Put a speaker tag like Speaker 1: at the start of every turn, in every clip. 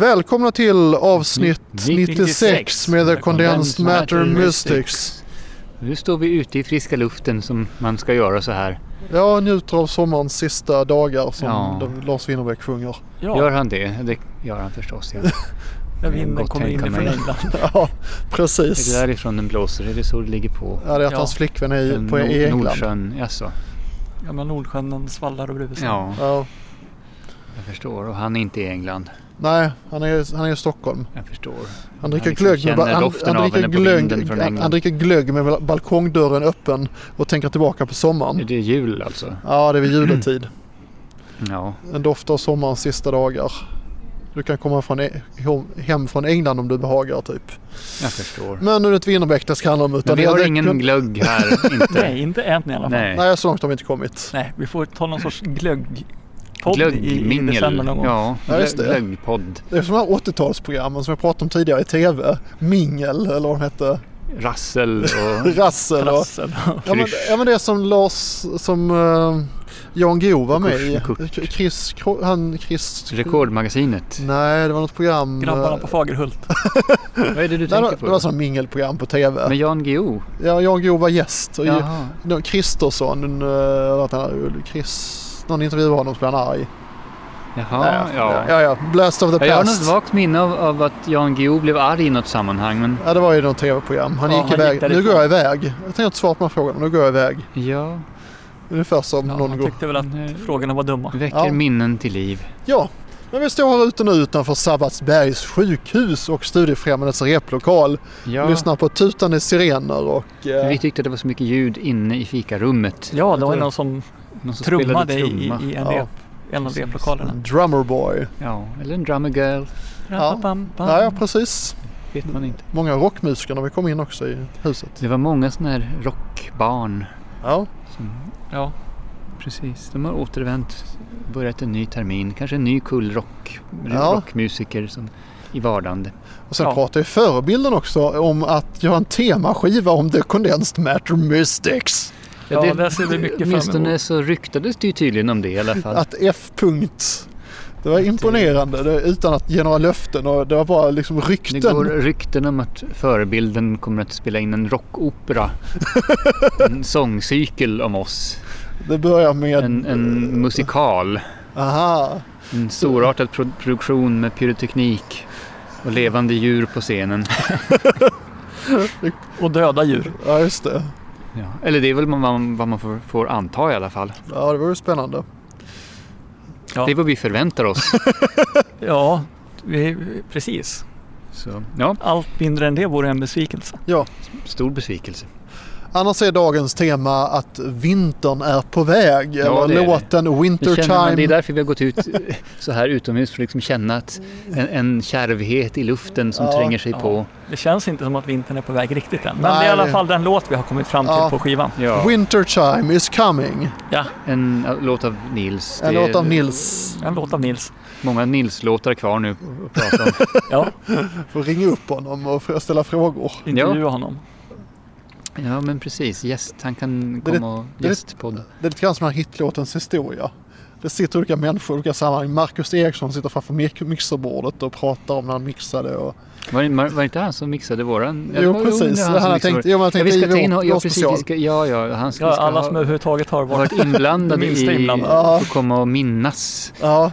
Speaker 1: Välkomna till avsnitt
Speaker 2: 96
Speaker 1: 96 med The
Speaker 2: med
Speaker 1: Condensed
Speaker 2: Condensed
Speaker 1: Matter
Speaker 2: Matter
Speaker 1: Mystics.
Speaker 2: Nu står vi ute i friska luften som man ska göra så här.
Speaker 1: Jag njuter av sommarens sista dagar som
Speaker 2: Ja.
Speaker 1: de- Lars Winnerbäck sjunger.
Speaker 2: Gör
Speaker 3: Ja,
Speaker 2: han det? Det gör han förstås. Ja.
Speaker 3: när
Speaker 2: jag kan
Speaker 3: vinden
Speaker 2: gott
Speaker 3: kommer
Speaker 2: tänka
Speaker 3: inifrån
Speaker 2: mig.
Speaker 3: England.
Speaker 1: ja, precis.
Speaker 2: Är det därifrån den blåser? Är det så det ligger på?
Speaker 1: Ja, det är att
Speaker 3: Ja.
Speaker 1: hans flickvän är i,
Speaker 2: Den
Speaker 1: på, i
Speaker 2: Nord-
Speaker 1: England.
Speaker 2: Nordsjön, jaså?
Speaker 3: Gamla Nordsjön, den svallar och brusar.
Speaker 2: Ja,
Speaker 1: Ja.
Speaker 2: jag förstår. Och han är inte i England.
Speaker 1: Nej, han är, han är i Stockholm.
Speaker 2: Jag förstår.
Speaker 1: Han dricker,
Speaker 2: Han liksom
Speaker 1: glögg, med,
Speaker 2: känner
Speaker 1: ba- han,
Speaker 2: doften
Speaker 1: han,
Speaker 2: av
Speaker 1: dricker
Speaker 2: henne på vinden
Speaker 1: glögg,
Speaker 2: från
Speaker 1: han,
Speaker 2: England.
Speaker 1: han dricker glögg med balkongdörren öppen och tänker tillbaka på
Speaker 2: Är
Speaker 1: sommaren.
Speaker 2: det jul alltså?
Speaker 1: Ja, det är vid juletid.
Speaker 2: Ja.
Speaker 1: En doft av sommarens sista dagar. Du kan komma från, e- hem från England om du behagar typ.
Speaker 2: Jag förstår.
Speaker 1: Men nu är det inte Winnerbäck det ska handla om. Utan
Speaker 2: Men vi
Speaker 1: det-
Speaker 2: har
Speaker 1: det-
Speaker 2: ingen glögg här, inte.
Speaker 3: Nej, inte än i alla fall.
Speaker 2: Nej.
Speaker 3: Nej,
Speaker 1: Nej, så långt har vi inte kommit.
Speaker 3: vi får ta någon sorts glöggpodd i, i
Speaker 2: Glöggmingel.
Speaker 3: december någon gång.
Speaker 2: Ja,
Speaker 1: Ja, just det.
Speaker 2: glöggpodd.
Speaker 1: Det är som de här 80-talsprogrammen som jag pratade om tidigare i tv. Mingel eller vad de hette.
Speaker 2: Rassel och...
Speaker 1: Rassel och...
Speaker 3: Rassen.
Speaker 1: Ja men,
Speaker 2: Krysch.
Speaker 1: ja men det är som Lars, som uh, Jan Guillou var med i.
Speaker 2: Kurs med Kurt.
Speaker 1: Chris, Kro- han Chris...
Speaker 2: Rekordmagasinet.
Speaker 1: Nej det var något program.
Speaker 3: Grabbarna
Speaker 1: eh,
Speaker 3: på Fagerhult.
Speaker 2: Vad är det
Speaker 1: Nej, det var-
Speaker 2: du tänker
Speaker 1: det var
Speaker 2: på?
Speaker 1: sådana mingelprogram på tv.
Speaker 2: Med Jan Guillou?
Speaker 1: Ja, Jan Guillou var gäst. Och
Speaker 2: Jaha.
Speaker 1: någon Kristersson, en, eh, eller något annat, Chris... Någon intervjuade honom så blev han arg.
Speaker 2: Jaha, ja.
Speaker 1: ja, ja. Blast of the
Speaker 2: Ja,
Speaker 1: past.
Speaker 2: Jag har något vagt minne av, av att Jan Guillou blev arg i något sammanhang. Men
Speaker 1: Ja, det var ju något tv-program. Han
Speaker 3: Ja,
Speaker 1: gick
Speaker 3: han gick
Speaker 1: iväg. nu
Speaker 3: därifrån.
Speaker 1: går jag iväg. Jag tänker inte svara på den här frågan, men nu går jag iväg.
Speaker 2: ja,
Speaker 1: Ungefär som
Speaker 3: Ja,
Speaker 1: någon
Speaker 3: han
Speaker 1: går.
Speaker 3: tyckte väl att
Speaker 2: Nej.
Speaker 3: frågorna var dumma.
Speaker 2: väcker
Speaker 1: Ja.
Speaker 2: minnen till liv.
Speaker 1: Ja, men vi står här ute nu utanför Sabbatsbergs sjukhus och Studiefrämjandets replokal.
Speaker 2: Ja,
Speaker 1: Lyssnar på tutande sirener och...
Speaker 2: för
Speaker 1: Eh,
Speaker 2: vi tyckte det var så mycket ljud inne i fikarummet.
Speaker 3: Ja, det var ju någon som
Speaker 2: Någon som
Speaker 3: trummade
Speaker 2: spelade
Speaker 3: i,
Speaker 2: trumma.
Speaker 3: i en,
Speaker 1: Ja.
Speaker 3: rep, en av
Speaker 2: Precis.
Speaker 3: replokalerna.
Speaker 1: Drummerboy.
Speaker 2: Ja, eller en drummer girl.
Speaker 1: Ja.
Speaker 3: Rapapam, pam.
Speaker 1: Ja, ja, precis.
Speaker 2: Vet man inte.
Speaker 1: Många rockmusiker när vi kom in också i huset.
Speaker 2: Det var många sådana här rockbarn.
Speaker 1: Ja,
Speaker 3: Ja.
Speaker 2: Precis, de har återvänt. Börjat en ny termin. Kanske en ny kull rock,
Speaker 1: Ja.
Speaker 2: rockmusiker som, i vardande.
Speaker 1: och sen
Speaker 3: Ja.
Speaker 1: pratade ju förebilden också om att göra en temaskiva om The Condensed Matter Mystics.
Speaker 3: Ja, där ser vi mycket fram emot.
Speaker 2: Åtminstone så ryktades det ju tydligen om det i alla fall.
Speaker 1: Att F. punkt. Det
Speaker 2: eh,
Speaker 1: var imponerande det, utan att ge några löften och det var bara liksom
Speaker 2: Det
Speaker 1: rykten.
Speaker 2: går rykten om att förebilden kommer att spela in en rockopera. En sångcykel om oss.
Speaker 1: Det börjar med...
Speaker 2: En, en musikal.
Speaker 1: Aha.
Speaker 2: En storartad pro- produktion med pyroteknik och levande djur på scenen.
Speaker 3: Och döda djur.
Speaker 1: Ja, just det.
Speaker 2: Ja. Eller det är väl vad man, vad man får, får anta i alla fall.
Speaker 1: Ja, det var ju spännande.
Speaker 3: Ja.
Speaker 2: Det är vad vi förväntar oss.
Speaker 3: Ja, vi, precis.
Speaker 2: Så, ja,
Speaker 3: Allt mindre än det vore en besvikelse.
Speaker 2: stor besvikelse.
Speaker 1: Annars är dagens tema att vintern är på väg.
Speaker 2: Ja,
Speaker 1: eller
Speaker 2: det är det.
Speaker 1: låten
Speaker 2: Nu känner man, det är
Speaker 1: Wintertime.
Speaker 2: därför vi har gått ut så här utomhus för att liksom känna att en, en kärvhet i luften som
Speaker 1: Ja.
Speaker 2: tränger sig
Speaker 3: Ja.
Speaker 2: på.
Speaker 3: Det känns inte som att vintern är på väg riktigt än. Men
Speaker 1: Nej,
Speaker 3: det är i alla
Speaker 1: det-
Speaker 3: fall den låt vi har kommit fram till
Speaker 1: Ja.
Speaker 3: på skivan.
Speaker 2: Ja.
Speaker 1: Wintertime is coming.
Speaker 3: Ja,
Speaker 2: En ä, låt av Nils.
Speaker 1: En
Speaker 2: Det är
Speaker 1: låt av Nils.
Speaker 3: en låt av Nils.
Speaker 2: Många Nils-låtar kvar nu
Speaker 1: Mm.
Speaker 2: att prata om.
Speaker 3: Ja,
Speaker 1: Får ringa upp honom och fr- ställa frågor.
Speaker 3: intervjua honom.
Speaker 2: Ja men precis, gäst. Han kan
Speaker 1: Det är
Speaker 2: komma och
Speaker 1: det är-
Speaker 2: gästpodda.
Speaker 1: Det är lite grann som den här hitlåtens historia. Det sitter olika människor i olika sammanhang. Marcus Eriksson sitter framför mik- mixerbordet och pratar om när han mixade. Och...
Speaker 2: Var, det- var, var det inte han som mixade våran? Ja, det
Speaker 1: jo,
Speaker 2: var-
Speaker 1: precis.
Speaker 2: det
Speaker 1: han
Speaker 2: var som
Speaker 1: har
Speaker 2: mixade
Speaker 1: tänkt,
Speaker 2: vår-
Speaker 1: jo, men jag
Speaker 2: Ja, vi
Speaker 1: tänkte
Speaker 2: ska ta in
Speaker 1: i vår,
Speaker 2: ja, precis, vi
Speaker 1: special.
Speaker 2: ska, ja, ja, han ska, vi
Speaker 3: Ja,
Speaker 2: ska
Speaker 3: alla
Speaker 2: ha,
Speaker 3: som överhuvudtaget har
Speaker 2: ha
Speaker 3: varit
Speaker 2: varit inblandade
Speaker 3: Minsta
Speaker 2: i
Speaker 3: inblandade.
Speaker 2: och få komma och minnas
Speaker 1: Ja,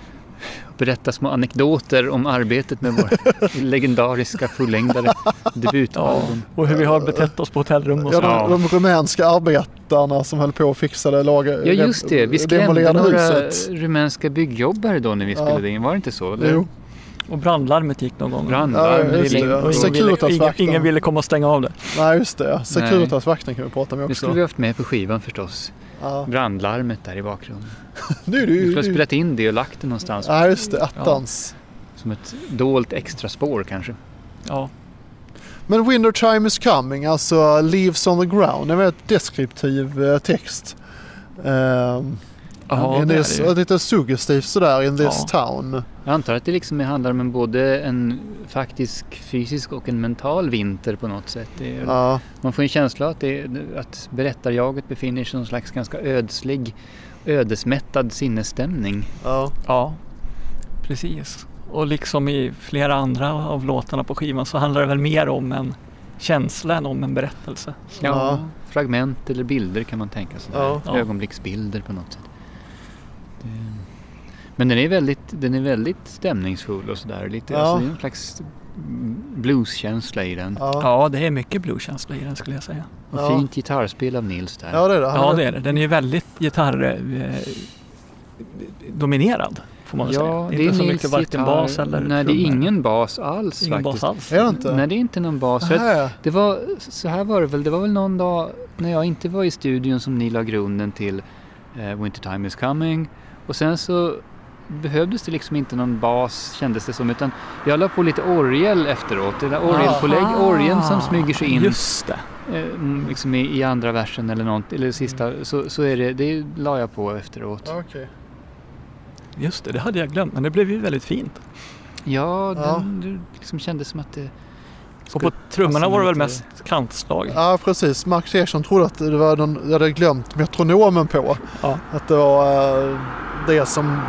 Speaker 2: och berätta små anekdoter om arbetet med vår legendariska fullängdare debutalbum.
Speaker 3: och hur vi har betett oss på hotellrum och
Speaker 1: Ja,
Speaker 3: så.
Speaker 1: de, de rumänska arbetarna som höll på och fixade, lagade,
Speaker 2: Ja just det, vi skrämde
Speaker 1: demolerade
Speaker 2: några
Speaker 1: huset.
Speaker 2: rumänska byggjobbare då när vi
Speaker 1: Ja.
Speaker 2: spelade in, var det inte så? Eller?
Speaker 1: Jo,
Speaker 3: Och brandlarmet gick någon gång.
Speaker 2: Brandlarm,
Speaker 1: Ja, just det,
Speaker 2: det,
Speaker 1: ja.
Speaker 3: Och
Speaker 2: det,
Speaker 1: Så
Speaker 3: ingen,
Speaker 1: kul att
Speaker 3: ville, ingen,
Speaker 1: vakten-
Speaker 3: ingen ville komma och stänga av det.
Speaker 1: nej just det.
Speaker 2: Nej.
Speaker 1: Securitasvakten kan vi prata med
Speaker 2: det skulle
Speaker 1: också.
Speaker 2: vi haft med på skivan förstås.
Speaker 1: Ja.
Speaker 2: Brandlarmet där i bakgrunden.
Speaker 1: Nu,
Speaker 2: Vi
Speaker 1: nu,
Speaker 2: skulle ha
Speaker 1: nu.
Speaker 2: spelat in det och lagt det någonstans.
Speaker 1: Ja just det, attans.
Speaker 2: Som ett dolt extra spår kanske.
Speaker 3: Ja.
Speaker 1: Men Winter Time is coming, alltså Leaves on the ground. Det är en väldigt deskriptiv eh, text. Um,
Speaker 3: Ja,
Speaker 1: in
Speaker 3: det är
Speaker 1: this,
Speaker 3: det ju.
Speaker 1: lite suggestivt sådär, in this
Speaker 3: Ja.
Speaker 1: town.
Speaker 2: Jag antar att det liksom handlar om en både en faktisk fysisk och en mental vinter på något sätt. Det är,
Speaker 1: Ja,
Speaker 2: Man får en känsla att, det, att berättarjaget befinner sig i någon slags ganska ödslig, ödesmättad sinnesstämning.
Speaker 1: ja.
Speaker 3: ja, precis. Och liksom i flera andra av låtarna på skivan så handlar det väl mer om en känsla än om en berättelse.
Speaker 2: Ja,
Speaker 1: Ja.
Speaker 2: fragment eller bilder kan man tänka sig.
Speaker 1: Ja.
Speaker 3: Ja.
Speaker 2: Ögonblicksbilder på något sätt. Det- Men den är väldigt, den är väldigt stämningsfull och sådär. Lite,
Speaker 1: Ja.
Speaker 2: alltså, det är en slags mm, blueskänsla i den.
Speaker 1: Ja,
Speaker 3: Ja, det är mycket blueskänsla i den skulle jag säga.
Speaker 2: Och
Speaker 1: Ja.
Speaker 2: fint gitarrspel av Nils där.
Speaker 1: ja det är det. Han
Speaker 3: Ja,
Speaker 1: är-
Speaker 3: det är det. Den är ju väldigt gitarrdominerad. Får man väl säga.
Speaker 2: Ja,
Speaker 3: det är inte så
Speaker 2: Nils
Speaker 3: mycket varken
Speaker 2: gitarr.
Speaker 3: bas eller
Speaker 2: Nej, det är
Speaker 3: trummor.
Speaker 2: ingen bas alls
Speaker 3: ingen
Speaker 2: faktiskt.
Speaker 3: bas alls.
Speaker 1: Är det inte?
Speaker 2: Nej, det är inte någon bas. För att
Speaker 1: Nähä.
Speaker 2: Det var, så här var det väl, det var väl någon dag när jag inte var i studion som ni la grunden till eh, Winter Time Is Coming. Och sen så behövdes det liksom inte någon bas kändes det som utan jag la på lite orgel efteråt. Det där orgelpålägg,
Speaker 1: Ah.
Speaker 3: Aha.
Speaker 2: orgeln som smyger sig in
Speaker 3: Just det.
Speaker 2: eh, mm, liksom i, i andra versen eller något, eller sista, så, så är det, det la jag på efteråt.
Speaker 1: Mm. Ja, okej.
Speaker 3: Just det, det hade jag glömt. Men det blev ju väldigt fint.
Speaker 2: Ja,
Speaker 1: Ja.
Speaker 2: Den, det liksom kändes som att det...
Speaker 3: Och på trummorna
Speaker 2: passa
Speaker 3: var det väl
Speaker 2: lite-
Speaker 3: mest kantslag.
Speaker 1: Ja, precis. Marcus Eriksson trodde att det var någon, jag hade glömt metronomen på.
Speaker 3: Ja.
Speaker 1: Att det var eh, det som,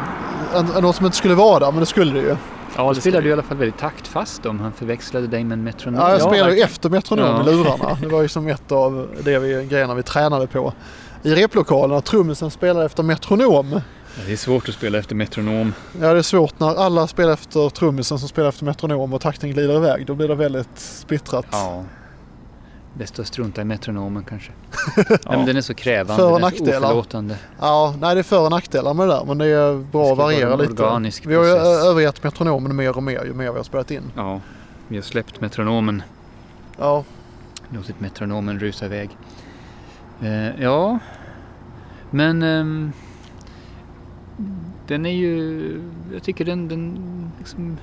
Speaker 1: en- en- något som inte skulle vara där, men det skulle det ju.
Speaker 2: Ja, det spelade
Speaker 3: stämmer.
Speaker 2: du i alla fall väldigt taktfast om. Han förväxlade dig med en metronom.
Speaker 1: Ja, jag
Speaker 3: Ja,
Speaker 1: spelade ju
Speaker 3: verkligen.
Speaker 1: efter metronom
Speaker 2: Ja.
Speaker 1: i lurarna. Det var ju som ett av det vi, grejerna vi tränade på i replokalen. Att trummisen spelade efter metronom.
Speaker 2: Det är svårt att spela efter metronom.
Speaker 1: Ja, det är svårt när alla spelar efter trummisen som spelar efter metronom och takten glider iväg. Då blir det väldigt splittrat.
Speaker 2: Ja. Bäst att strunta i metronomen kanske. Nej, men
Speaker 3: Ja.
Speaker 2: den är så krävande,
Speaker 1: För- och
Speaker 2: den är så
Speaker 1: nackdelar.
Speaker 2: oförlåtande.
Speaker 1: Ja, nej det är för och nackdelar med det där men det är bra
Speaker 2: Det ska
Speaker 1: att variera
Speaker 2: vara en
Speaker 1: lite.
Speaker 2: organisk
Speaker 1: vi har ju
Speaker 2: process.
Speaker 1: övergett metronomen mer och mer ju mer vi har spelat in.
Speaker 2: Ja, vi har släppt metronomen.
Speaker 1: Ja,
Speaker 2: Låtit metronomen rusa iväg. Eh, ja, men ehm, den är ju... Jag tycker den... den liksom,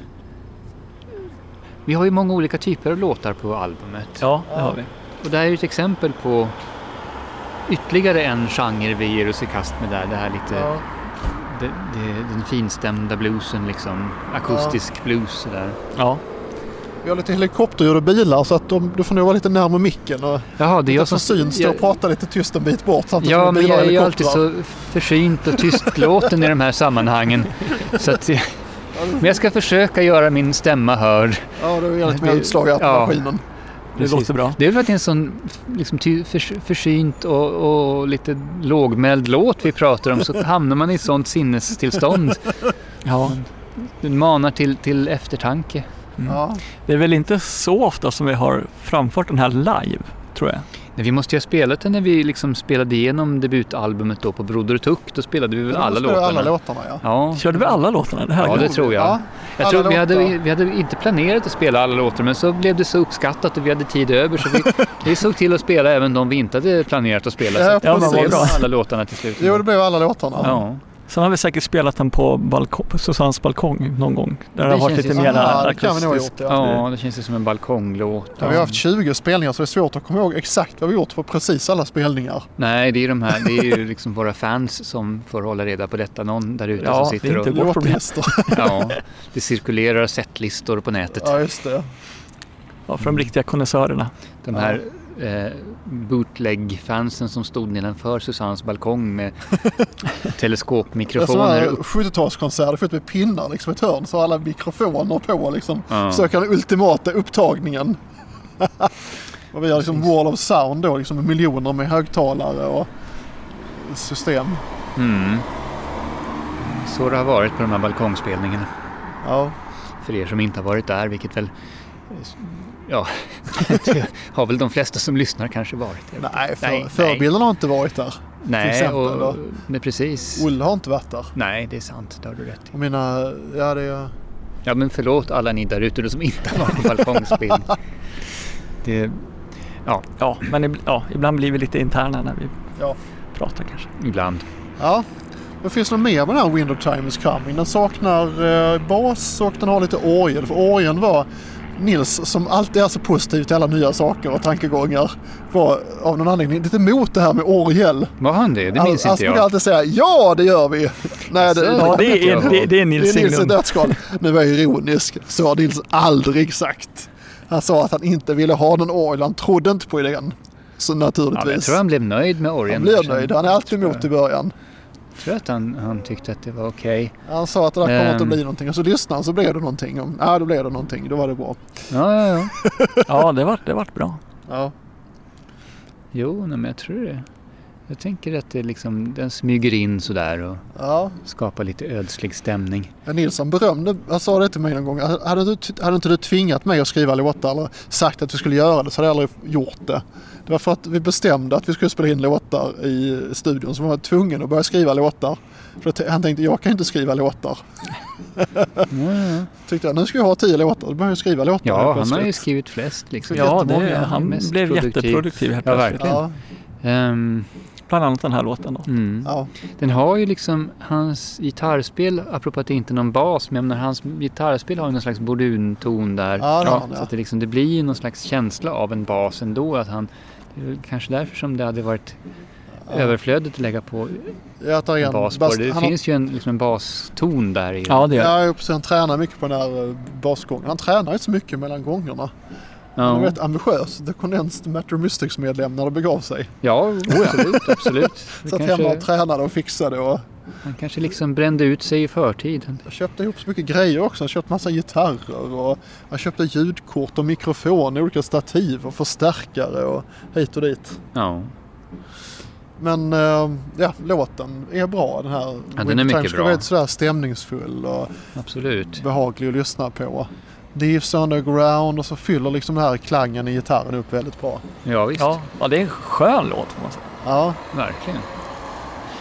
Speaker 2: vi har ju många olika typer av låtar på albumet.
Speaker 3: Ja, det har vi.
Speaker 2: Och det här är ju ett exempel på ytterligare en genre vi ger oss i kast med där. Det här lite...
Speaker 1: ja,
Speaker 2: Det, det, den finstämda bluesen liksom. Akustisk blues sådär.
Speaker 3: Ja.
Speaker 1: vi har lite helikopterljud och bilar så att de, du får nog vara lite närmare micken. Och
Speaker 2: Jaha, det är
Speaker 1: jag
Speaker 2: jag
Speaker 1: som
Speaker 2: som...
Speaker 1: syns står och pratar lite tyst en bit bort samtidigt
Speaker 2: Ja,
Speaker 1: som det
Speaker 2: men
Speaker 1: bilar och
Speaker 2: jag är ju alltid
Speaker 1: helikoptrar.
Speaker 2: så försynt och tystlåten i de här sammanhangen. Så att, jag- men jag ska försöka göra min stämma hörd.
Speaker 1: Ja, det är lite mer
Speaker 2: Det-
Speaker 1: utslag i
Speaker 2: ja. Mm.
Speaker 1: maskinen.
Speaker 3: Det
Speaker 2: Precis.
Speaker 3: låter bra.
Speaker 2: Det är väl för att det är en sån liksom, ty, förs, försynt och, och lite lågmäld låt vi pratar om så hamnar man i ett sånt sinnestillstånd.
Speaker 3: Ja.
Speaker 2: Den manar till, till eftertanke.
Speaker 3: Mm.
Speaker 1: Ja.
Speaker 3: Det är väl inte så ofta som vi har framfört den här live, tror jag.
Speaker 2: Nej, vi måste ju ha spelat den när vi liksom spelade igenom debutalbumet då på Broder Tuck. Då spelade vi väl alla
Speaker 1: Då spelar
Speaker 2: låtarna.
Speaker 1: vi alla låtarna ja.
Speaker 2: Ja.
Speaker 3: Körde vi alla låtarna? Det här
Speaker 2: Ja, det tror jag.
Speaker 1: Ja,
Speaker 2: Jag
Speaker 1: alla
Speaker 2: tror vi, hade,
Speaker 1: låtar.
Speaker 2: vi hade inte planerat att spela alla låtar men så blev det så uppskattat och vi hade tid över så vi, vi såg till att spela även de vi inte hade planerat att spela. Så
Speaker 1: Ja,
Speaker 2: att det
Speaker 1: precis.
Speaker 2: blev bra alla låtarna till slut.
Speaker 1: Jo, det blev alla låtarna.
Speaker 2: ja.
Speaker 3: Sen har vi säkert spelat den på balkong, på Susannes balkong någon gång. Där det,
Speaker 2: Det
Speaker 3: har varit
Speaker 2: känns
Speaker 3: lite
Speaker 2: ju
Speaker 3: mer
Speaker 2: som-
Speaker 1: Ja, det kan vi nog ha
Speaker 3: akustiskt.
Speaker 1: gjort. Ja.
Speaker 2: ja, det känns ju som en balkonglåt.
Speaker 1: Ja, vi har haft 20 spelningar så det är svårt att komma ihåg exakt vad vi gjort på precis alla spelningar.
Speaker 2: Nej, det är, de här, det är ju liksom våra fans som får hålla reda på detta. Någon där ute
Speaker 3: Ja,
Speaker 2: som
Speaker 3: det är
Speaker 2: sitter
Speaker 3: inte
Speaker 2: och...
Speaker 3: vårt problem.
Speaker 1: Låtlistor.
Speaker 2: Ja, det cirkulerar setlistor på nätet.
Speaker 1: Ja, just det.
Speaker 3: Ja, för de riktiga konnässörerna.
Speaker 2: De här eh, bootleg-fansen som stod nedanför Susannes balkong med
Speaker 1: Det är sådana
Speaker 2: teleskopmikrofoner.
Speaker 1: här
Speaker 2: upp.
Speaker 1: 70-talskonserter fullt med pinnar liksom i ett hörn så har alla mikrofoner på liksom.
Speaker 2: Ja.
Speaker 1: Söker den ultimata upptagningen. och vi har liksom wall of sound då liksom med miljoner med högtalare och system.
Speaker 2: Mm. Så det har varit på de här balkongspelningarna.
Speaker 1: Ja,
Speaker 2: För er som inte har varit där, vilket väl... eh, Ja, det har väl de flesta som lyssnar kanske varit.
Speaker 1: nej, för,
Speaker 2: Nej,
Speaker 1: förebilderna har inte varit där.
Speaker 2: Nej,
Speaker 1: exempel
Speaker 2: och,
Speaker 1: då.
Speaker 2: nej precis.
Speaker 1: Olle har inte varit där.
Speaker 2: Nej, det är sant. Det har du rätt i.
Speaker 1: Och mina, ja det är...
Speaker 2: Ja, men förlåt alla ni där ute som inte var på balkongspelning. Det, ja,
Speaker 3: Ja, men ib- ja, ibland blir vi lite interna när vi
Speaker 1: Ja.
Speaker 3: pratar kanske.
Speaker 2: ibland.
Speaker 1: Ja. Men finns det något mer med den här Window Time is coming? Den saknar eh, bas och den har lite orgel. För orgeln var Nils, som alltid är så positiv till alla nya saker och tankegångar, var av någon anledning lite emot det här med orgel.
Speaker 2: Var han det? Det minns
Speaker 1: han
Speaker 2: inte
Speaker 1: brukar
Speaker 2: jag.
Speaker 1: alltid säga ja, det gör vi. Nej, det,
Speaker 2: Ja,
Speaker 3: Ja,
Speaker 2: det kommer
Speaker 3: det
Speaker 2: jag
Speaker 3: är,
Speaker 2: ihåg.
Speaker 3: det, det är
Speaker 1: det
Speaker 3: Nils
Speaker 1: är Nils i
Speaker 3: Englund.
Speaker 1: nötskal. Nu var jag ironisk. Så har Nils aldrig sagt. Han sa att han inte ville ha någon orgel. Han trodde inte på idén. Så
Speaker 2: Ja, men jag
Speaker 1: naturligtvis.
Speaker 2: tror han blev nöjd med
Speaker 1: han
Speaker 2: orgeln.
Speaker 1: blev nöjd. Han är alltid emot i början.
Speaker 2: tror att han, han tyckte att det var okej.
Speaker 1: Han sa att det där kommer inte
Speaker 2: Ehm.
Speaker 1: att bli någonting och så lyssnade han så blev det någonting. Och, ja, då blev det någonting. Då var det bra.
Speaker 2: Ja, ja, ja.
Speaker 3: Ja, det vart det vart bra.
Speaker 1: Ja.
Speaker 2: Jo, nej, men jag tror det. Jag tänker att det liksom, den smyger in sådär och
Speaker 1: ja.
Speaker 2: skapar lite ödslig stämning.
Speaker 1: Ja, Nilsson berömde, han sa det till mig någon gång. Hade, du, hade inte du tvingat mig att skriva låtar eller sagt att vi skulle göra det så hade jag aldrig gjort det. Det var för att vi bestämde att vi skulle spela in låtar i studion så man var tvungen att börja skriva låtar. För att han tänkte, jag kan inte skriva låtar.
Speaker 2: Ja, ja, ja.
Speaker 1: Tyckte jag, nu ska jag ha tio låtar, då börjar jag skriva låtar.
Speaker 2: ja
Speaker 1: helt
Speaker 2: han har ju
Speaker 1: plötsligt.
Speaker 2: skrivit flest liksom.
Speaker 3: Ja,
Speaker 1: jättemånga.
Speaker 3: det,
Speaker 2: Han är
Speaker 3: han
Speaker 2: mest
Speaker 3: blev
Speaker 2: produktiv.
Speaker 3: jätteproduktiv helt
Speaker 2: Ja,
Speaker 3: plötsligt.
Speaker 2: verkligen.
Speaker 1: Ja,
Speaker 2: Ehm,
Speaker 3: Bland annat den här låten då.
Speaker 2: mm.
Speaker 1: ja,
Speaker 2: Den har ju liksom hans gitarrspel, apropå att det inte är någon bas, men jag menar, hans gitarrspel har ju någon slags bordunton där.
Speaker 1: ja, det har han,
Speaker 2: Så
Speaker 1: ja.
Speaker 2: att det, liksom, det blir ju någon slags känsla av en bas ändå. Att han, det är väl kanske därför som det hade varit överflödigt att lägga på
Speaker 1: Jag tar
Speaker 2: en
Speaker 1: igen.
Speaker 2: bas på
Speaker 1: Bast-
Speaker 2: det. Det
Speaker 1: han
Speaker 2: finns ju en, liksom en baston där i.
Speaker 3: Ja, det gör det.
Speaker 1: har, ja, precis, han tränar mycket på den här eh, basgången. Han tränar inte så mycket mellan gångerna. Han är
Speaker 2: ja.
Speaker 1: rätt ambitiös. The Condensed Matter Mystics medlem när det begav sig.
Speaker 2: ja absolut. absolut. Det
Speaker 1: Satt hemma
Speaker 2: kanske,
Speaker 1: och tränade och fixade och
Speaker 2: han kanske liksom brände ut sig i förtid.
Speaker 1: jag köpte ihop så mycket grejer också. Jag köpte massa gitarrer och jag köpte ljudkort och mikrofon, olika stativ och förstärkare och hit och dit.
Speaker 2: Ja,
Speaker 1: Men eh, ja, låten är bra den här.
Speaker 2: den är
Speaker 1: Winter
Speaker 2: mycket
Speaker 1: Time ska
Speaker 2: bra.
Speaker 1: vara lite sådär stämningsfull och
Speaker 2: absolut. behaglig.
Speaker 1: behaglig att lyssna på. Thieves Underground och så fyller liksom den här klangen i gitarren upp väldigt bra.
Speaker 2: Ja, visst.
Speaker 3: Ja, ja, det är en skön låt får man säga.
Speaker 1: Ja,
Speaker 2: Verkligen.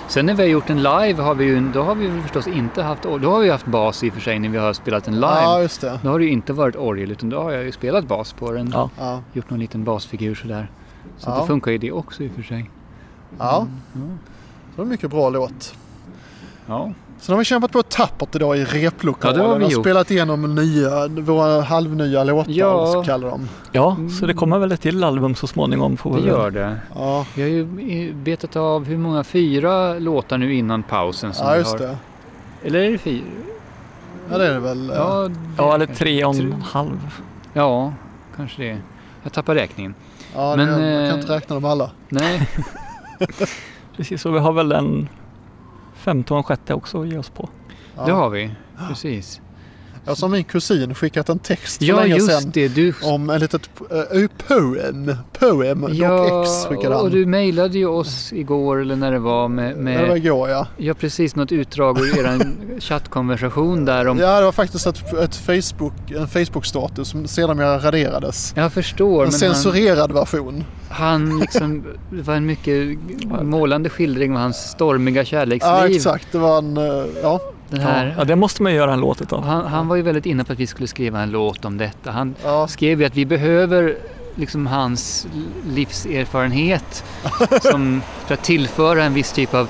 Speaker 2: Sen när vi har gjort den live har vi ju, då har vi väl förstås inte haft, or- då har vi haft bas i och för sig när vi har spelat den live.
Speaker 1: ja just det.
Speaker 2: Då har det ju inte varit orgel utan då har jag ju spelat bas på den.
Speaker 3: Ja.
Speaker 1: Ja,
Speaker 2: Gjort någon liten basfigur sådär. Så
Speaker 1: Ja.
Speaker 2: det funkar ju det också i och för sig.
Speaker 1: ja.
Speaker 2: Ja.
Speaker 1: Så det är en mycket bra låt.
Speaker 2: Ja,
Speaker 1: Sen har vi kämpat på tappert idag i replokalen.
Speaker 2: Ja, det har vi
Speaker 1: och
Speaker 2: gjort.
Speaker 1: spelat igenom nya, våra halvnya låtar,
Speaker 2: Ja.
Speaker 1: så kallar de.
Speaker 3: Ja, så det kommer väl ett till album så småningom. Får vi
Speaker 2: det
Speaker 3: väl-
Speaker 2: gör det.
Speaker 1: Ja,
Speaker 2: Vi har ju betat av hur många? Fyra låtar nu innan pausen. Som
Speaker 1: ja
Speaker 2: vi
Speaker 1: just
Speaker 2: har.
Speaker 1: det.
Speaker 2: Eller är det fyra?
Speaker 1: Ja, det är det väl. Ja.
Speaker 2: Ja, det
Speaker 3: Ja, eller
Speaker 2: kanske.
Speaker 3: tre och en
Speaker 2: Tre.
Speaker 3: halv.
Speaker 2: Ja, kanske det. Jag tappar räkningen.
Speaker 1: ja
Speaker 2: men,
Speaker 1: det, man
Speaker 2: eh,
Speaker 1: kan inte räkna dem alla.
Speaker 2: Nej,
Speaker 3: Precis, och vi har väl en femte och en sjätte också att ge oss på.
Speaker 1: Ja.
Speaker 2: det har vi. Precis.
Speaker 1: Jag som min kusin skickat en text för
Speaker 2: Ja,
Speaker 1: länge
Speaker 2: just
Speaker 1: sedan.
Speaker 2: det. Du
Speaker 1: Om en litet uh, poem. Poem. Ja, X skickade han.
Speaker 2: och du mejlade ju oss igår eller när det var med,
Speaker 1: Ja, Det var
Speaker 2: med
Speaker 1: igår ja.
Speaker 2: ja, precis något utdrag ur er chattkonversation där om...
Speaker 1: Ja, det var faktiskt ett, ett Facebook, en Facebook-status som sedan jag raderades.
Speaker 2: Jag förstår,
Speaker 1: En
Speaker 2: men han,
Speaker 1: censurerad version.
Speaker 2: han liksom... Det var en mycket målande skildring av hans stormiga
Speaker 1: Ja,
Speaker 2: kärleksliv.
Speaker 1: exakt. Det var en... eh, Ja,
Speaker 2: Den
Speaker 3: Ja,
Speaker 2: här,
Speaker 3: ja, det måste man ju göra en låt utav.
Speaker 2: och han, han var ju väldigt inne på att vi skulle skriva en låt om detta. Han
Speaker 1: ja.
Speaker 2: skrev ju att vi behöver liksom hans livserfarenhet som, för att tillföra en viss typ av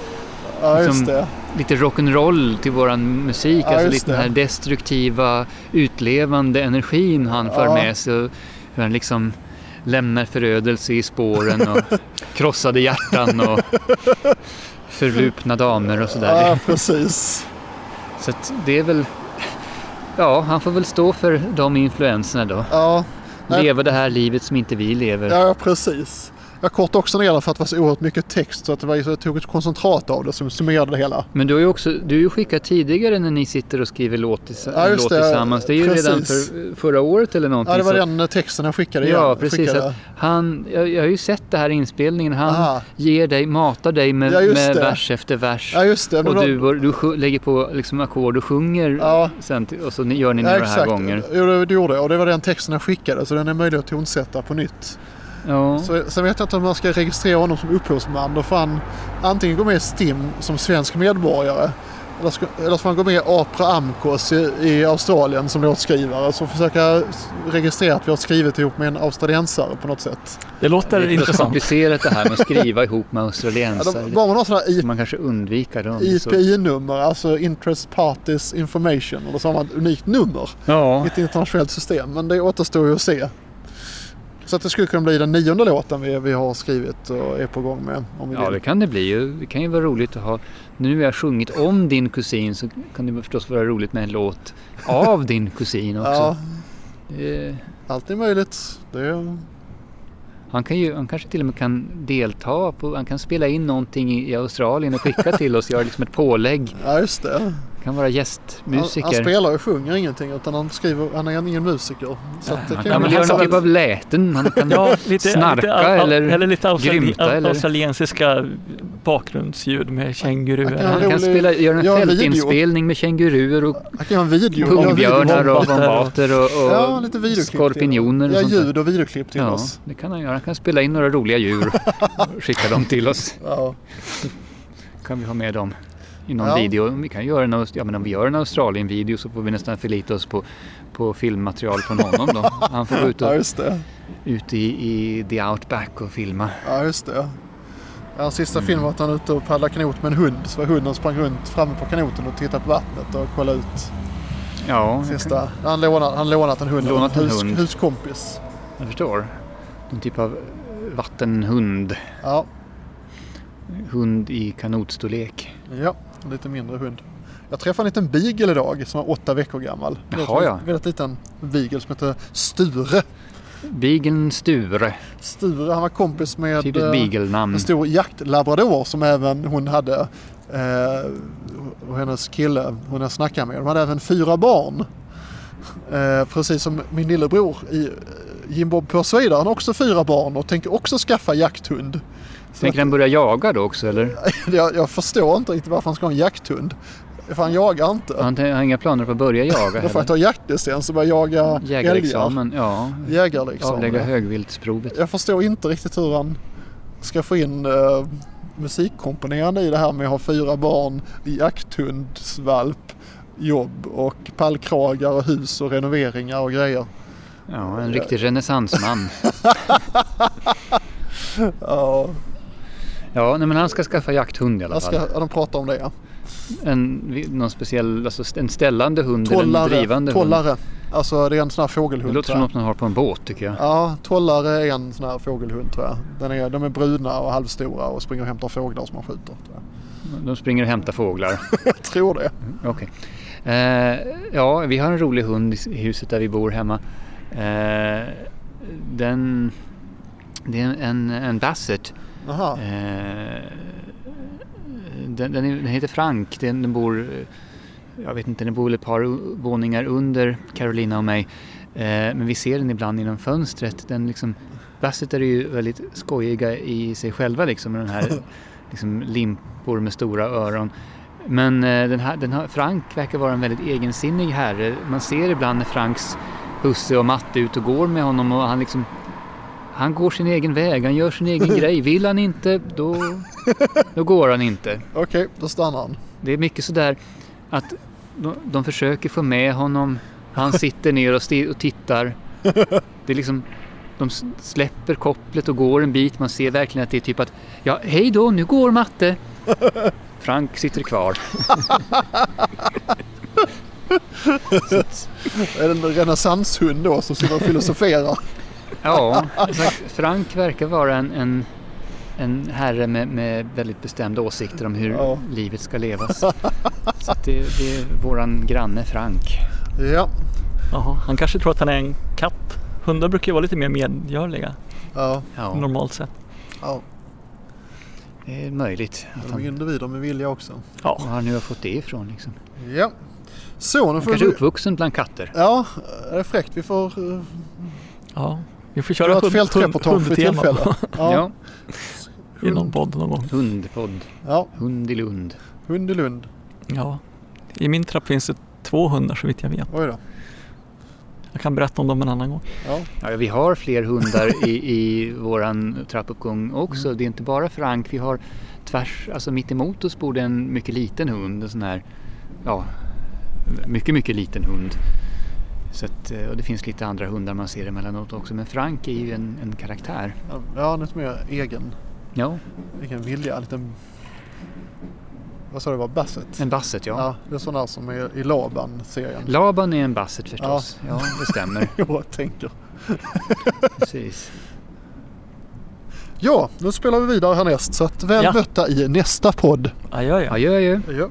Speaker 1: ja just
Speaker 2: liksom-
Speaker 1: det.
Speaker 2: lite rock'n'roll till våran musik.
Speaker 1: Ja,
Speaker 2: alltså
Speaker 1: just
Speaker 2: lite den
Speaker 1: det.
Speaker 2: här destruktiva, utlevande energin han för
Speaker 1: Ja.
Speaker 2: med sig. och Hur han liksom lämnar förödelse i spåren och krossade hjärtan och förlupna damer och sådär.
Speaker 1: Ja, precis.
Speaker 2: Så att det är väl... Ja, han får väl stå för de influenserna då.
Speaker 1: Ja, Nej.
Speaker 2: Leva det här livet som inte vi lever.
Speaker 1: ja precis. Jag kortade också ner den för att det var så oerhört mycket text så att det var, jag tog ett koncentrat av det som summerade det hela.
Speaker 2: Men du har ju också du har ju skickat tidigare när ni sitter och skriver låt, tillsa-
Speaker 1: Ja, just
Speaker 2: låt
Speaker 1: det.
Speaker 2: tillsammans. Det är ju redan
Speaker 1: Precis.
Speaker 2: för, förra året eller någonting.
Speaker 1: Ja, det var
Speaker 2: så-
Speaker 1: den eh, texten jag skickade igen.
Speaker 2: Ja, precis.
Speaker 1: Skickade.
Speaker 2: Att han, jag, jag har ju sett det här i inspelningen. Han
Speaker 1: Aha.
Speaker 2: ger dig, matar dig med,
Speaker 1: Ja, just
Speaker 2: med
Speaker 1: det.
Speaker 2: vers efter vers.
Speaker 1: Ja, just det. Men
Speaker 2: och
Speaker 1: då-
Speaker 2: du, du sj- lägger på liksom ackord och sjunger
Speaker 1: Ja.
Speaker 2: sen, till- och så ni- gör ni
Speaker 1: Ja,
Speaker 2: några här
Speaker 1: exakt.
Speaker 2: gånger.
Speaker 1: Jo, det, det gjorde jag. Och det var den texten jag skickade så den är möjlig att tonsätta på nytt.
Speaker 2: Ja.
Speaker 1: Så, sen vet jag inte om man ska registrera honom som upphovsman. Då får han antingen gå med i STIM som svensk medborgare. Eller, ska, eller så får han gå med i Apra Amcos i, i Australien som låtskrivare. Så försöka s- registrera att vi har skrivit ihop med en australiensare på något sätt.
Speaker 3: Det låter
Speaker 2: det är så
Speaker 3: intressant.
Speaker 2: komplicerat det här med att skriva ihop med
Speaker 1: Ja,
Speaker 2: australiensare.
Speaker 1: de, bara man har sådana
Speaker 2: Så Man kanske undviker dem. så-
Speaker 1: IPI-nummer, alltså Interest Parties Information. Eller så har man ett unikt nummer
Speaker 2: Ja.
Speaker 1: i ett internationellt system. Men det återstår ju att se. Så att det skulle kunna bli den nionde låten vi, vi har skrivit och är på gång med. Om vi
Speaker 2: ja,
Speaker 1: vill.
Speaker 2: det kan det bli. ju. Det kan ju vara roligt att ha. Nu har jag sjungit om din kusin så kan det förstås vara roligt med en låt av din kusin också.
Speaker 1: Ja,
Speaker 2: Det-
Speaker 1: allt är möjligt. Det är...
Speaker 2: Han, kan ju, han kanske till och med kan delta, på, han kan spela in någonting i i Australien och skicka till oss, göra liksom ett pålägg.
Speaker 1: Ja, just det.
Speaker 2: Kan vara
Speaker 1: Han,
Speaker 2: gästmusiker.
Speaker 1: han spelar och sjunger ingenting utan han skriver, han är ingen musiker. Så att det
Speaker 2: han
Speaker 1: kan ju
Speaker 2: kan väl
Speaker 3: men
Speaker 1: vara
Speaker 2: göra
Speaker 3: han
Speaker 2: någon
Speaker 1: sant.
Speaker 2: typ av läten. Han kan
Speaker 3: Ja, lite,
Speaker 2: Mm. snarka
Speaker 3: lite, au- au-
Speaker 2: eller
Speaker 3: lite australi-
Speaker 2: grymta
Speaker 3: au-
Speaker 2: eller-
Speaker 3: australiensiska bakgrundsljud med
Speaker 1: Ja,
Speaker 3: känguruer.
Speaker 2: Han kan
Speaker 1: rolig-
Speaker 2: spela, göra en
Speaker 1: gör en video.
Speaker 2: fältinspelning med känguruer och
Speaker 1: Han kan göra en video.
Speaker 2: pungbjörnar och
Speaker 1: videobombar.
Speaker 3: bombater.
Speaker 2: bombater och, och
Speaker 1: Ja, lite videoklipp. till-
Speaker 2: skorpioner och
Speaker 1: Ja,
Speaker 2: sånt där.
Speaker 1: ljud och videoklipp till
Speaker 2: Ja,
Speaker 1: oss.
Speaker 2: det kan han göra. Han kan spela in några roliga djur och skicka dem till oss.
Speaker 1: Ja.
Speaker 2: kan vi ha med dem i någon
Speaker 1: Ja.
Speaker 2: video. Vi kan göra en, Aust- ja, men om vi gör en Australien-video så får vi nästan förlita oss på, på filmmaterial från honom då. Han får gå ut, och,
Speaker 1: ja, just det.
Speaker 2: ut i, i the outback och filma.
Speaker 1: Ja, just det. Ja, Hans sista film var att han var ute och paddlade kanot med en hund. Så var hunden sprang runt framme på kanoten och tittade på vattnet och kollade ut.
Speaker 2: Mm, Ja, jag, kan,
Speaker 1: Sista. Han lånat, han lånat en hund av
Speaker 2: Lånat en
Speaker 1: hus,
Speaker 2: hund.
Speaker 1: huskompis.
Speaker 2: jag förstår. Någon typ av vattenhund.
Speaker 1: Ja,
Speaker 2: Hund i kanotstorlek.
Speaker 1: ja, en lite mindre hund. Jag träffade en liten beagle idag som var åtta veckor gammal.
Speaker 2: Jaha,
Speaker 1: Väldigt-
Speaker 2: ja.
Speaker 1: Väldigt liten beagle som heter Sture.
Speaker 2: Beagle Sture.
Speaker 1: Sture, han var kompis med...
Speaker 2: Typiskt
Speaker 1: eh,
Speaker 2: beagle-namn.
Speaker 1: En stor jaktlabrador som även hon hade eh, och hennes kille hon jag snackade med. De hade även fyra barn. Eh, precis som min lillebror i eh, Jim Bob Persweda. Han har också fyra barn och tänker också skaffa jakthund.
Speaker 2: Tänker den börja jaga då också eller?
Speaker 1: Jag, jag förstår inte riktigt varför han ska ha en jakthund. För han jagar inte.
Speaker 2: Han har inga planer på att börja jaga
Speaker 1: Då får han
Speaker 2: heller.
Speaker 1: ta jaktlicens och börja jaga älgar.
Speaker 2: Jägarexamen, ja.
Speaker 1: Jägarexamen.
Speaker 2: Avlägga högviltsprovet.
Speaker 1: Jag förstår inte riktigt hur han ska få in eh, musikkomponerande i det här med att ha fyra barn, jakthundsvalp, jobb och pallkragar och hus och renoveringar och grejer.
Speaker 2: Ja, en riktig renässansman.
Speaker 1: Ja,
Speaker 2: Ja, nej, men han ska skaffa jakthund i alla
Speaker 1: jag ska,
Speaker 2: fall.
Speaker 1: ja, de pratar om det ja.
Speaker 2: En, någon speciell, alltså st- en ställande hund eller en
Speaker 1: Tollare.
Speaker 2: drivande hund.
Speaker 1: tollare. Alltså det är en sån här
Speaker 2: Det
Speaker 1: fågelhund.
Speaker 2: låter
Speaker 1: tror
Speaker 2: som
Speaker 1: jag.
Speaker 2: något man har på en båt tycker jag.
Speaker 1: Ja, tollare är en sån här fågelhund tror jag. Den är, de är bruna och halvstora och springer och hämtar fåglar som man skjuter. Tror jag.
Speaker 2: De springer och hämtar fåglar.
Speaker 1: jag tror det.
Speaker 2: Okej. Eh, ja, vi har en rolig hund i huset där vi bor hemma. Eh, den, det är en, en basset.
Speaker 1: Jaha.
Speaker 2: Eh, den, den, är, den heter Frank. Den, den bor, eh, jag vet inte, den bor väl ett par u- våningar under Carolina och mig. Eh, men vi ser den ibland genom fönstret. Den liksom, Basset är ju väldigt skojiga i sig själva liksom med den här liksom, limpor med stora öron. Men eh, den här, den här, Frank verkar vara en väldigt egensinnig herre. Man ser ibland när Franks husse och matte ut och går med honom och han liksom han går sin egen väg, han gör sin egen grej. Vill han inte, då, då går han inte.
Speaker 1: Okej, då stannar han.
Speaker 2: Det är mycket sådär att de, de försöker få med honom. Han sitter ner och, sti- och tittar. Det är liksom, de s- släpper kopplet och går en bit. Man ser verkligen att det är typ att, ja hej då, nu går matte. Frank sitter kvar.
Speaker 1: Är det en renässanshund då som sitter och filosoferar?
Speaker 2: Ja, som sagt, Frank verkar vara en, en, en herre med, med väldigt bestämda åsikter om hur
Speaker 1: Ja.
Speaker 2: livet ska levas. Så att det, det är våran granne Frank.
Speaker 1: Ja,
Speaker 3: Jaha, han kanske tror att han är en katt. Hundar brukar ju vara lite mer medgörliga
Speaker 1: ja,
Speaker 2: Ja,
Speaker 3: normalt sett.
Speaker 1: ja.
Speaker 2: det är möjligt att
Speaker 1: de är
Speaker 2: han,
Speaker 1: individer med vilja också.
Speaker 2: var han nu har fått det ifrån. Liksom.
Speaker 1: Ja. Så, nu
Speaker 2: Han
Speaker 1: får
Speaker 2: kanske är
Speaker 1: vi...
Speaker 2: uppvuxen bland katter.
Speaker 1: Ja, det är fräckt. Vi får eh,
Speaker 3: Ja, vi får
Speaker 1: dra
Speaker 3: köra
Speaker 1: ett fältreportage vid
Speaker 3: hundtema
Speaker 1: tillfälle.
Speaker 2: Ja.
Speaker 1: Ja,
Speaker 3: i någon podd någon gång.
Speaker 2: Hundpodd.
Speaker 1: ja,
Speaker 2: Hund i Lund.
Speaker 1: hund i Lund.
Speaker 3: Ja. I min trapp finns det två hundar så vitt jag vet.
Speaker 1: Oj då.
Speaker 3: Jag kan berätta om dem en annan gång.
Speaker 1: Ja,
Speaker 2: Ja, vi har fler hundar i, i våran trappuppgång också. Det är inte bara Frank. Vi har tvärs, alltså mitt emot oss bor det en mycket liten hund. En sån här, ja, mycket, mycket liten hund. Så att, eh, och det finns lite andra hundar man ser emellanåt också. Men Frank är ju en, en karaktär.
Speaker 1: ja lite mer egen,
Speaker 2: Ja,
Speaker 1: egen vilja. En liten... Vad sa du var? Basset?
Speaker 2: en basset ja.
Speaker 1: Ja, det är sån där som är i Laban-serien.
Speaker 2: Laban är en basset förstås. Ja, det stämmer.
Speaker 1: Jag tänker.
Speaker 2: Precis.
Speaker 1: Ja, nu spelar vi vidare härnäst. Så att väl
Speaker 3: Ja.
Speaker 1: mötta i nästa podd.
Speaker 3: Adjö ja.
Speaker 2: Adjö adjö.
Speaker 1: Ja.